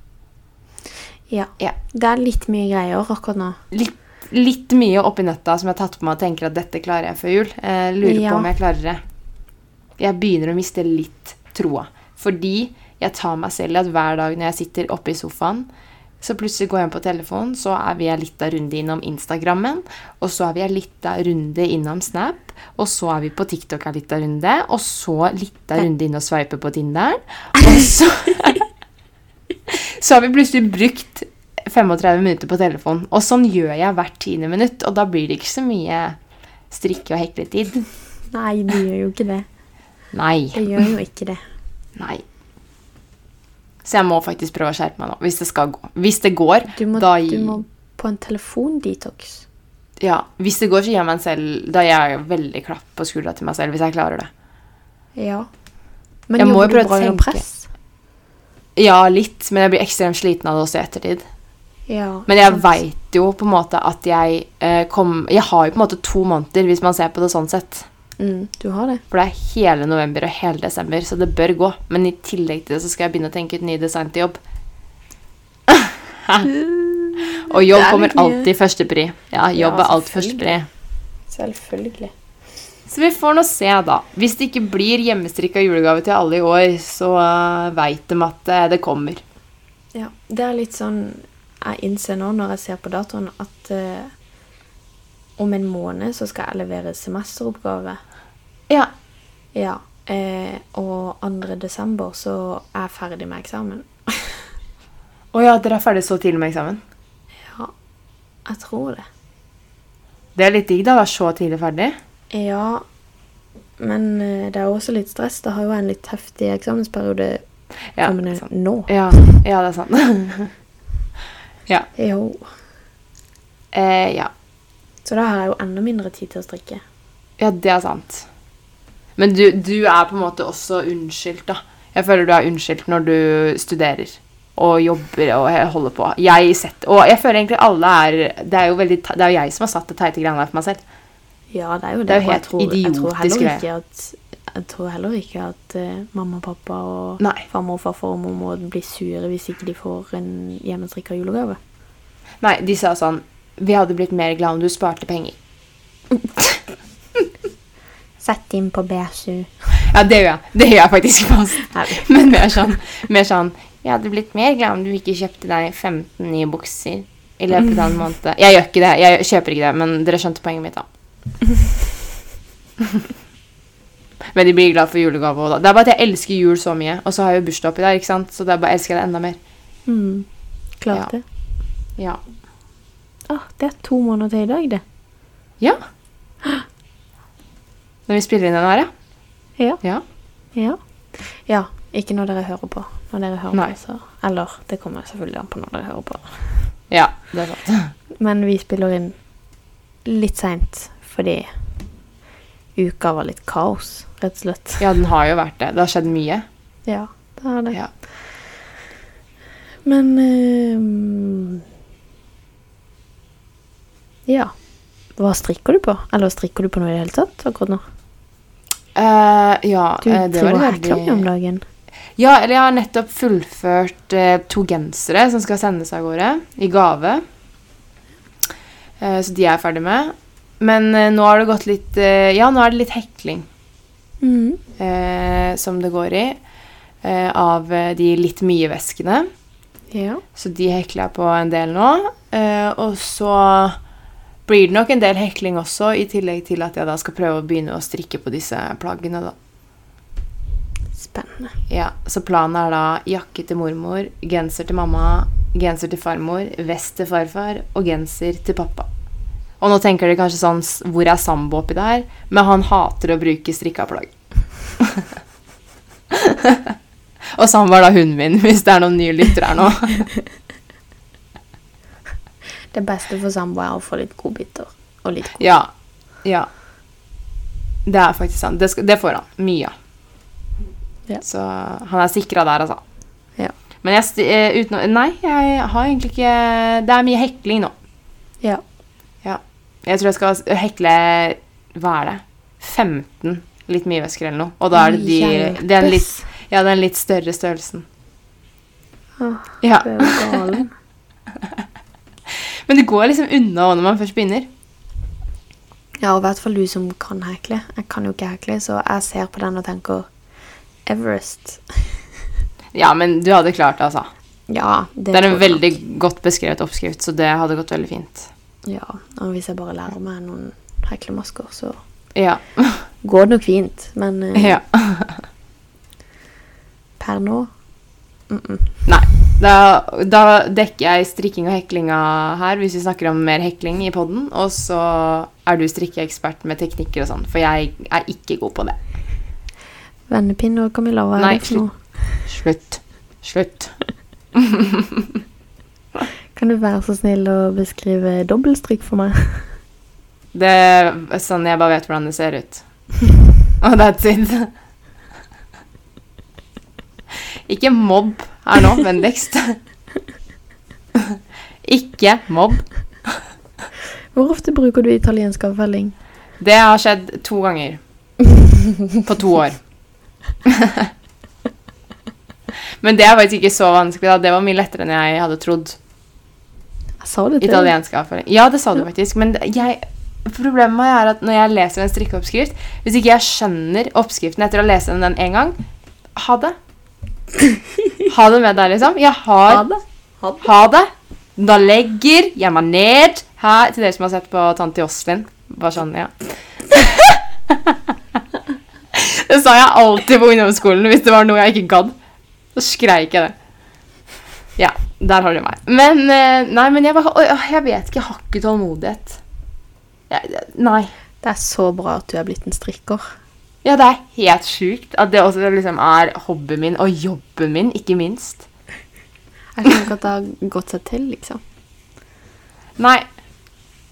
Speaker 1: ja.
Speaker 2: Ja.
Speaker 1: Det er litt mye greier akkurat nå.
Speaker 2: litt, litt mye oppi nøtta som jeg har tatt på meg og tenker at dette klarer jeg før jul. Eh, lurer
Speaker 1: Ja.
Speaker 2: på om jeg klarer det. Jeg begynner å miste litt troa. Fordi jeg tar meg selv i at hver dag når jeg sitter oppe i sofaen, så plutselig går jeg inn på telefonen, så er vi en liten runde innom Instagrammen, og så er vi en liten runde innom Snap, og så er vi på TikTok en liten runde, og så en liten runde inn og sveiper på Tinderen, og så så har vi plutselig brukt 35 minutter på telefon. Og sånn gjør jeg hvert tiende minutt, og da blir det ikke så mye strikke- og hekletid.
Speaker 1: Nei, det gjør jo ikke det.
Speaker 2: Nei.
Speaker 1: Det gjør jo ikke det.
Speaker 2: Nei. Så jeg må faktisk prøve å skjerpe meg nå, hvis det skal gå. Hvis det går,
Speaker 1: Du må,
Speaker 2: da
Speaker 1: du må på en telefondetox.
Speaker 2: Ja, hvis det går, så gir jeg meg en selv Da gir jeg veldig klapp på skuldra til meg selv hvis jeg klarer det.
Speaker 1: Ja. Men
Speaker 2: Jeg må
Speaker 1: jobber
Speaker 2: jo
Speaker 1: du
Speaker 2: prøve å
Speaker 1: bra under
Speaker 2: tenke.
Speaker 1: press?
Speaker 2: Ja, litt, men jeg blir ekstremt sliten av det også i ettertid.
Speaker 1: Ja.
Speaker 2: Men jeg
Speaker 1: sant.
Speaker 2: veit jo på en måte at jeg eh, kom Jeg har jo på en måte to måneder, hvis man ser på det sånn sett.
Speaker 1: Mm, du har det.
Speaker 2: For det er hele november og hele desember, så det bør gå. Men i tillegg til det så skal jeg begynne å tenke ut ny design til jobb. og jobb
Speaker 1: Det er
Speaker 2: kommer
Speaker 1: litt mye.
Speaker 2: alltid førstepri. Ja, jobb
Speaker 1: Ja,
Speaker 2: er alt
Speaker 1: selvfølgelig.
Speaker 2: førstepri.
Speaker 1: Selvfølgelig.
Speaker 2: Så vi får nå se, da. Hvis det ikke blir hjemmestrikka julegave til alle i år, så uh, veit de at eh, det kommer.
Speaker 1: Ja. Det er litt sånn Jeg innser nå når jeg ser på datoen, at eh, om en måned så skal jeg levere semesteroppgave.
Speaker 2: Ja.
Speaker 1: Ja. Eh, og 2. desember så er jeg ferdig med eksamen.
Speaker 2: Å ja, dere er ferdig så tidlig med eksamen?
Speaker 1: Ja, jeg tror det.
Speaker 2: Det er litt digg, da. å Være så tidlig ferdig.
Speaker 1: Ja, men eh, det er jo også litt stress. Det har jo en litt heftig eksamensperiode
Speaker 2: Ja,
Speaker 1: kommende
Speaker 2: sant.
Speaker 1: nå.
Speaker 2: ja, ja det er sant. ja.
Speaker 1: Jo.
Speaker 2: Eh, ja.
Speaker 1: Så da har jeg jo enda mindre tid til å strikke.
Speaker 2: ja, det er sant. Men du, du er på en måte også unnskyldt, da. Jeg føler du er unnskyldt når du studerer og jobber og he- holder på. Jeg setter, og jeg føler egentlig alle er Det er jo, veldig, te- det er jo jeg som har satt det teite greiene her for meg selv.
Speaker 1: Ja, det er jo det.
Speaker 2: Det er jo
Speaker 1: og jeg
Speaker 2: helt
Speaker 1: tror- jeg tror
Speaker 2: idiotisk
Speaker 1: heller
Speaker 2: greie.
Speaker 1: ikke at- Jeg tror heller ikke at eh, mamma og pappa og
Speaker 2: Nei.
Speaker 1: farmor og farfar og mormor blir sure hvis ikke de får en hjemmestrikka julegave.
Speaker 2: Nei, de sa sånn Vi hadde blitt mer glad om du sparte penger.
Speaker 1: Sett inn på BSU.
Speaker 2: Ja, det gjør jeg. Det gjør jeg faktisk fast.
Speaker 1: Nei.
Speaker 2: Men mer sånn, mer sånn Jeg hadde blitt mer glad om du ikke kjøpte deg 15 nye bukser i løpet av en måned. Jeg gjør ikke det. Jeg kjøper ikke det, men dere skjønte poenget mitt, da. Men de blir glad for julegave også da. Det er bare at jeg elsker jul så mye, og så har jeg jo bursdag oppi der, ikke sant? Så det er bare elsker jeg det enda mer.
Speaker 1: Mm. Klart
Speaker 2: Ja.
Speaker 1: det.
Speaker 2: Ja.
Speaker 1: Ah, det er to måneder til i dag, det.
Speaker 2: Ja. Når vi spiller inn den her, ja.
Speaker 1: Ja.
Speaker 2: Ja.
Speaker 1: Ja. ja. Ikke når dere hører på. Når dere hører
Speaker 2: Nei.
Speaker 1: på, så Eller det kommer selvfølgelig an på når dere hører på.
Speaker 2: Ja, det er sant.
Speaker 1: Men vi spiller inn litt seint fordi uka var litt kaos, rett og slett.
Speaker 2: Ja, den har jo vært det. Det har skjedd mye.
Speaker 1: Ja, det er det.
Speaker 2: Ja.
Speaker 1: Men ehm, Ja. Hva strikker du på? Eller strikker du på noe i det hele tatt akkurat nå?
Speaker 2: Eh, ja,
Speaker 1: Du
Speaker 2: eh, det var
Speaker 1: driver og
Speaker 2: veldig-
Speaker 1: hekler mye om dagen.
Speaker 2: Ja, eller jeg har nettopp fullført eh, to gensere som skal sendes av gårde i gave. Eh, så de er jeg ferdig med. Men eh, nå har det gått litt eh, Ja, nå er det litt hekling
Speaker 1: Mhm.
Speaker 2: eh, som det går i. Eh, av eh, de litt mye veskene.
Speaker 1: Ja.
Speaker 2: Så de hekler jeg på en del nå. Eh, og så blir det nok en del hekling også, i tillegg til at jeg da skal prøve å begynne å strikke på disse plaggene, da.
Speaker 1: Spennende.
Speaker 2: Ja, så planen er da jakke til mormor, genser til mamma, genser til farmor, vest til farfar og genser til pappa. Og nå tenker de kanskje sånn s- Hvor er Sambo oppi der? Men han hater å bruke strikka plagg. og Sambo er da hunden min, hvis det er noen nye lyttere her nå.
Speaker 1: Det beste for samboer er å få litt godbiter. Og litt god.
Speaker 2: Ja. ja. Det er faktisk sant. Det, skal, det får han. Mye. av.
Speaker 1: Ja.
Speaker 2: Så han er sikra der, altså.
Speaker 1: Ja.
Speaker 2: Men jeg, sti- eh, uten, å- nei, jeg har egentlig ikke Det er mye hekling nå.
Speaker 1: Ja.
Speaker 2: Ja. Jeg tror jeg skal s- hekle Hva er det? 15 litt mye væsker eller noe. Og da er det de det er en litt,
Speaker 1: Hjelpes.
Speaker 2: Ja, den litt større størrelsen.
Speaker 1: Ah,
Speaker 2: Ja.
Speaker 1: Du er jo galen.
Speaker 2: Men det går liksom unna når man først begynner.
Speaker 1: Ja, og i hvert fall du som kan hekle. Jeg kan jo ikke hekle, så jeg ser på den og tenker Everest.
Speaker 2: Ja, men du hadde klart det, altså.
Speaker 1: Ja, det,
Speaker 2: Det er
Speaker 1: tror
Speaker 2: en
Speaker 1: jeg.
Speaker 2: veldig godt beskrevet oppskrift, så det hadde gått veldig fint.
Speaker 1: Ja, og hvis jeg bare lærer meg noen heklemasker, så
Speaker 2: Ja.
Speaker 1: Mm. går det nok fint. Men eh,
Speaker 2: ja.
Speaker 1: per nå
Speaker 2: Nei. Da, da dekker jeg strikking og heklinga her, hvis vi snakker om mer hekling i podden. Og så er du strikkeekspert med teknikker og sånn, for jeg er ikke god på det.
Speaker 1: Vennepinne og Camilla, hva er
Speaker 2: Nei,
Speaker 1: det for noe?
Speaker 2: Slutt. Slutt.
Speaker 1: Kan du være så snill å beskrive dobbeltstrikk for meg?
Speaker 2: Det er sånn jeg bare vet hvordan det ser ut. Og that's it. Ikke mobb her nå, vennligst. Ikke mobb.
Speaker 1: Hvor ofte bruker du italiensk avfelling?
Speaker 2: Det har skjedd to ganger på to år. Men det er faktisk ikke så vanskelig. da. Det var mye lettere enn jeg hadde trodd.
Speaker 1: Jeg sa det til deg.
Speaker 2: Italiensk avføring. Ja, det sa du faktisk. Men det- jeg, problemet med er at når jeg leser en strikkeoppskrift Hvis ikke jeg skjønner oppskriften etter å lese den den en gang, ha det. Ha det med deg, liksom. Jeg har
Speaker 1: Ha det. Ha det.
Speaker 2: ha det. Da legger jeg meg ned her til dere som har sett på Tante Jocelyn. Bare sånn, ja. det sa jeg alltid på ungdomsskolen hvis det var noe jeg ikke gadd. Så skreik jeg det. Ja, der har du meg. Men eh, nei, men jeg bare Åh, Jeg vet ikke. Jeg har ikke tålmodighet. Jeg- jeg- Nei.
Speaker 1: Det er så bra at du er blitt en strikker.
Speaker 2: Ja, det er helt sjukt at det også liksom er hobbyen min og jobben min, ikke minst.
Speaker 1: Jeg skjønner ikke at det har gått seg til, liksom.
Speaker 2: Nei.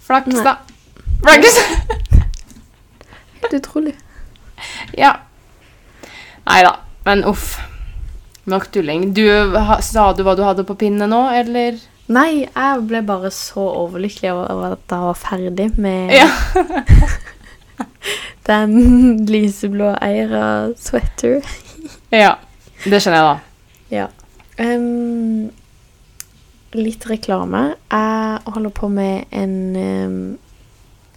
Speaker 2: Flaks,
Speaker 1: Nei.
Speaker 2: da. Flaks!
Speaker 1: Helt utrolig.
Speaker 2: Ja. Nei da. Men uff. Nok tulling. Du, ha, sa du hva du hadde på pinne nå, eller?
Speaker 1: Nei, jeg ble bare så overlykkelig over at jeg var ferdig med
Speaker 2: Ja.
Speaker 1: den lyseblå Eira-sweater.
Speaker 2: ja. Det skjønner jeg, da.
Speaker 1: Ja. Ehm, litt reklame. Jeg holder på med en ehm,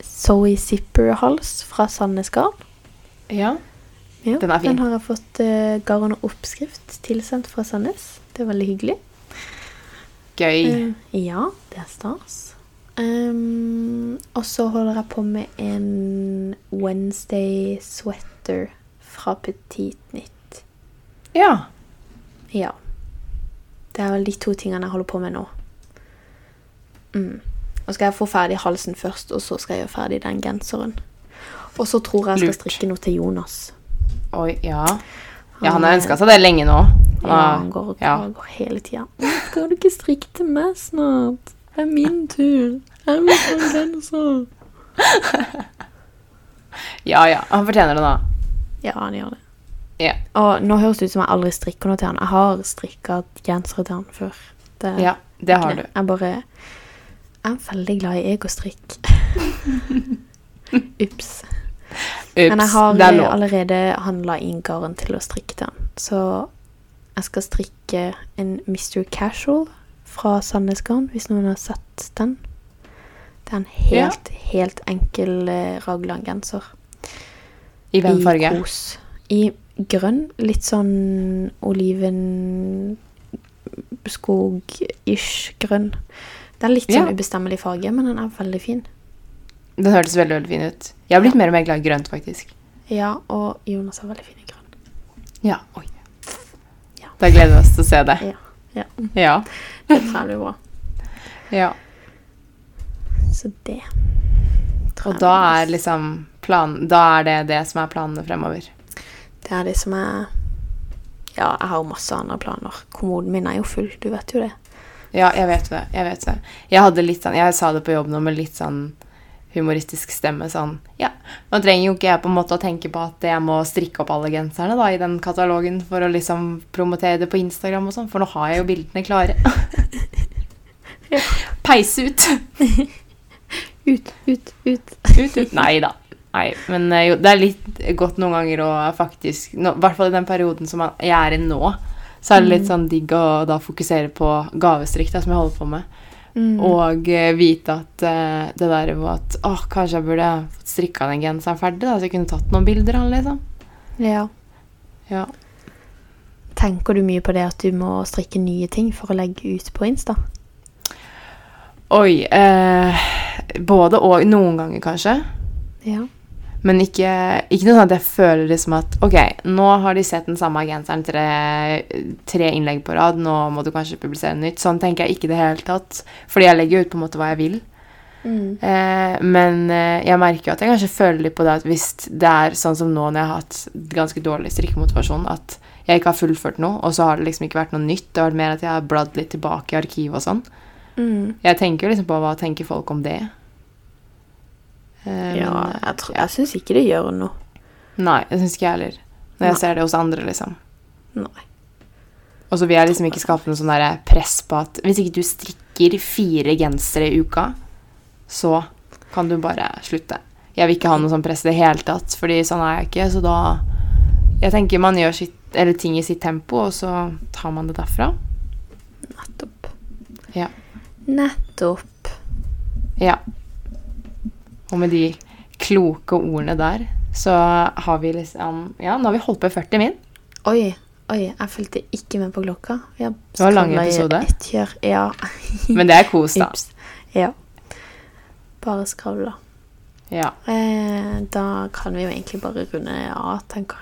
Speaker 1: Zoe Zipper-hals fra Sandnes Garn.
Speaker 2: Ja.
Speaker 1: Ja,
Speaker 2: Den er fin.
Speaker 1: Den har jeg fått eh, garn og oppskrift tilsendt fra Sandnes. Det er veldig hyggelig.
Speaker 2: Gøy.
Speaker 1: Eh, ja, det er stas. Ehm, og så holder jeg på med en Wednesday sweater fra Petit Nytt.
Speaker 2: Ja.
Speaker 1: Ja. Det er vel de to tingene jeg holder på med nå. Mm. Nå skal jeg få ferdig halsen først, og så skal jeg gjøre ferdig den genseren. Og så tror jeg jeg skal
Speaker 2: Lurt.
Speaker 1: strikke noe til Jonas.
Speaker 2: Oi, ja. Ja, han har ønska seg det lenge nå.
Speaker 1: Ja, han går og
Speaker 2: ja.
Speaker 1: klager hele tida. Skal du ikke strikke til meg snart? Det er min tur. Jeg vil få en genser.
Speaker 2: ja, ja. Han fortjener det, da.
Speaker 1: Ja, han gjør det.
Speaker 2: Ja.
Speaker 1: Og nå høres det ut som jeg aldri strikker noe til han. Jeg har strikka gensere til han før. Det,
Speaker 2: Ja, det har du.
Speaker 1: Jeg bare Jeg er veldig glad i egostrikk. Ups. Men jeg
Speaker 2: Ups.
Speaker 1: har
Speaker 2: Det er
Speaker 1: eh,
Speaker 2: lov.
Speaker 1: allerede handla inn garn til å strikke til han. Så jeg skal strikke en Mr. Casual fra Sandnes Garn, hvis noen har sett den. Det er en
Speaker 2: Ja.
Speaker 1: helt, helt enkel eh, raglan-genser.
Speaker 2: I hvem farge?
Speaker 1: I kos. I grønn, litt sånn oliven skog-ish grønn. Det er litt
Speaker 2: Ja.
Speaker 1: sånn ubestemmelig farge, men den er veldig fin.
Speaker 2: Den hørtes veldig veldig fin ut. Jeg har blitt mer og mer glad i grønt, faktisk.
Speaker 1: Ja, og Jonas er veldig fin i grønn.
Speaker 2: Ja, oi.
Speaker 1: Ja. Mm.
Speaker 2: Da gleder vi oss til å se det.
Speaker 1: Ja. ja.
Speaker 2: Ja.
Speaker 1: Det tror jeg blir bra.
Speaker 2: ja.
Speaker 1: Så det tror
Speaker 2: Og
Speaker 1: jeg
Speaker 2: da
Speaker 1: blir
Speaker 2: er liksom plan, Da er det det som er planene fremover.
Speaker 1: nice. Det er det som er Ja, jeg har jo masse andre planer. Kommoden min er jo full, du vet jo det.
Speaker 2: Ja, jeg vet det. Jeg vet det. Jeg hadde litt sånn, jeg sa det på jobb nå med litt sånn humoristisk stemme. sånn, ja, Nå trenger jo ikke jeg på en måte å tenke på at jeg må strikke opp alle genserne da, i den katalogen for å liksom promotere det på Instagram, og sånn, for nå har jeg jo bildene klare.
Speaker 1: Ja.
Speaker 2: Peis ut!
Speaker 1: Ut, ut, ut.
Speaker 2: ut, ut. Nei da. Nei, men eh, jo, det er litt godt noen ganger å faktisk nå- I hvert fall i den perioden som man- jeg er i nå, så er det litt sånn digg å da fokusere på gavestrikk, da, som jeg holder på med.
Speaker 1: Mm.
Speaker 2: Og eh, vite at eh, det der var at åh, kanskje jeg burde fått strikka den genseren ferdig, da, så jeg kunne tatt noen bilder av den, liksom.
Speaker 1: Ja.
Speaker 2: Ja.
Speaker 1: Tenker du mye på det at du må strikke nye ting for å legge ut på Insta?
Speaker 2: Oi. Eh, både og. Noen ganger, kanskje.
Speaker 1: Ja.
Speaker 2: Men ikke, ikke noe sånn at jeg føler liksom at Ok, nå har de sett den samme genseren tre, tre innlegg på rad, nå må du kanskje publisere nytt. Sånn tenker jeg ikke i det hele tatt. Fordi jeg legger jo ut på en måte hva jeg vil.
Speaker 1: Mm.
Speaker 2: Eh, men eh, jeg merker jo at jeg kanskje føler litt på det at hvis det er sånn som nå når jeg har hatt ganske dårlig strikkemotivasjon, at jeg ikke har fullført noe, og så har det liksom ikke vært noe nytt, det har vært mer at jeg har bladd litt tilbake i arkivet og sånn.
Speaker 1: Mm.
Speaker 2: Jeg tenker jo liksom på hva tenker folk om det. Eh,
Speaker 1: Ja,
Speaker 2: men,
Speaker 1: jeg, tror- jeg syns ikke det gjør noe.
Speaker 2: Nei, det syns ikke jeg heller. Når jeg
Speaker 1: Nei.
Speaker 2: ser det hos andre, liksom.
Speaker 1: Nei.
Speaker 2: Og så vil jeg liksom ikke skape noe sånn der press på at hvis ikke du strikker fire gensere i uka, så kan du bare slutte. Jeg vil ikke ha noe sånn press i det hele tatt, fordi sånn er jeg ikke. Så da Jeg tenker man gjør sitt, eller ting i sitt tempo, og så tar man det derfra.
Speaker 1: Nettopp.
Speaker 2: Ja.
Speaker 1: Nettopp.
Speaker 2: Ja. Og med de kloke ordene der, så har vi liksom Ja, nå har vi holdt på i 40 min.
Speaker 1: Oi, oi, jeg fulgte ikke med på klokka. Vi har
Speaker 2: Det var en lang
Speaker 1: skravlet i
Speaker 2: episode.
Speaker 1: ett kjør. Ja.
Speaker 2: Men det er kos, da.
Speaker 1: Ups. Ja. Bare skravla.
Speaker 2: Ja.
Speaker 1: Eh, da kan vi jo egentlig bare runde av, tenker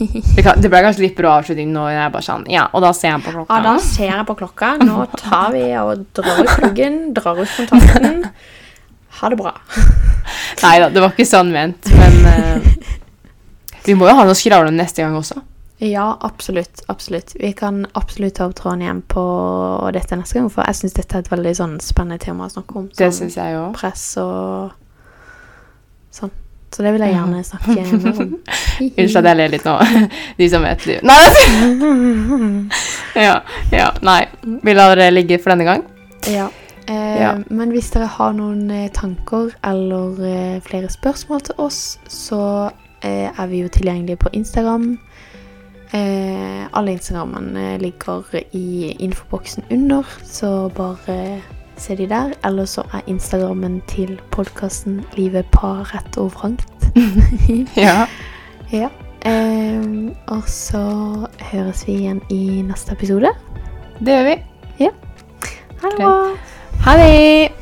Speaker 1: jeg.
Speaker 2: Det, kan, det ble kanskje litt bra avslutning nå. Jeg er bare sånn, ja, og da ser jeg på klokka.
Speaker 1: Ja, da ser jeg på klokka. Nå tar vi og drar ut pluggen, drar ut kontakten. Ha det bra.
Speaker 2: Nei da, det var ikke sånn ment, men eh, Vi må jo ha noe å skravle om neste gang også.
Speaker 1: Ja, absolutt. absolutt. Vi kan absolutt ta opp tråden igjen på dette neste gang, for jeg syns dette er et veldig sånn spennende tema å snakke om.
Speaker 2: Det
Speaker 1: sånn
Speaker 2: syns jeg òg.
Speaker 1: press og sånn. Så det vil jeg gjerne snakke mer om.
Speaker 2: Unnskyld at jeg ler litt nå. De som vet livet. Nei, altså. ja, ja, nei. Vi lar det ligge for denne gang.
Speaker 1: Ja. Eh,
Speaker 2: Ja.
Speaker 1: Men hvis dere har noen eh, tanker eller eh, flere spørsmål til oss, så eh, er vi jo tilgjengelige på Instagram. Eh, alle Instagrammene ligger i infoboksen under, så bare se de der. Eller så er Instagrammen til podkasten Livet par rett og vrangt.
Speaker 2: Ja.
Speaker 1: ja. Eh, og så høres vi igjen i neste episode.
Speaker 2: Det gjør vi.
Speaker 1: Ha det
Speaker 2: Greit.
Speaker 1: bra!
Speaker 2: Ha det!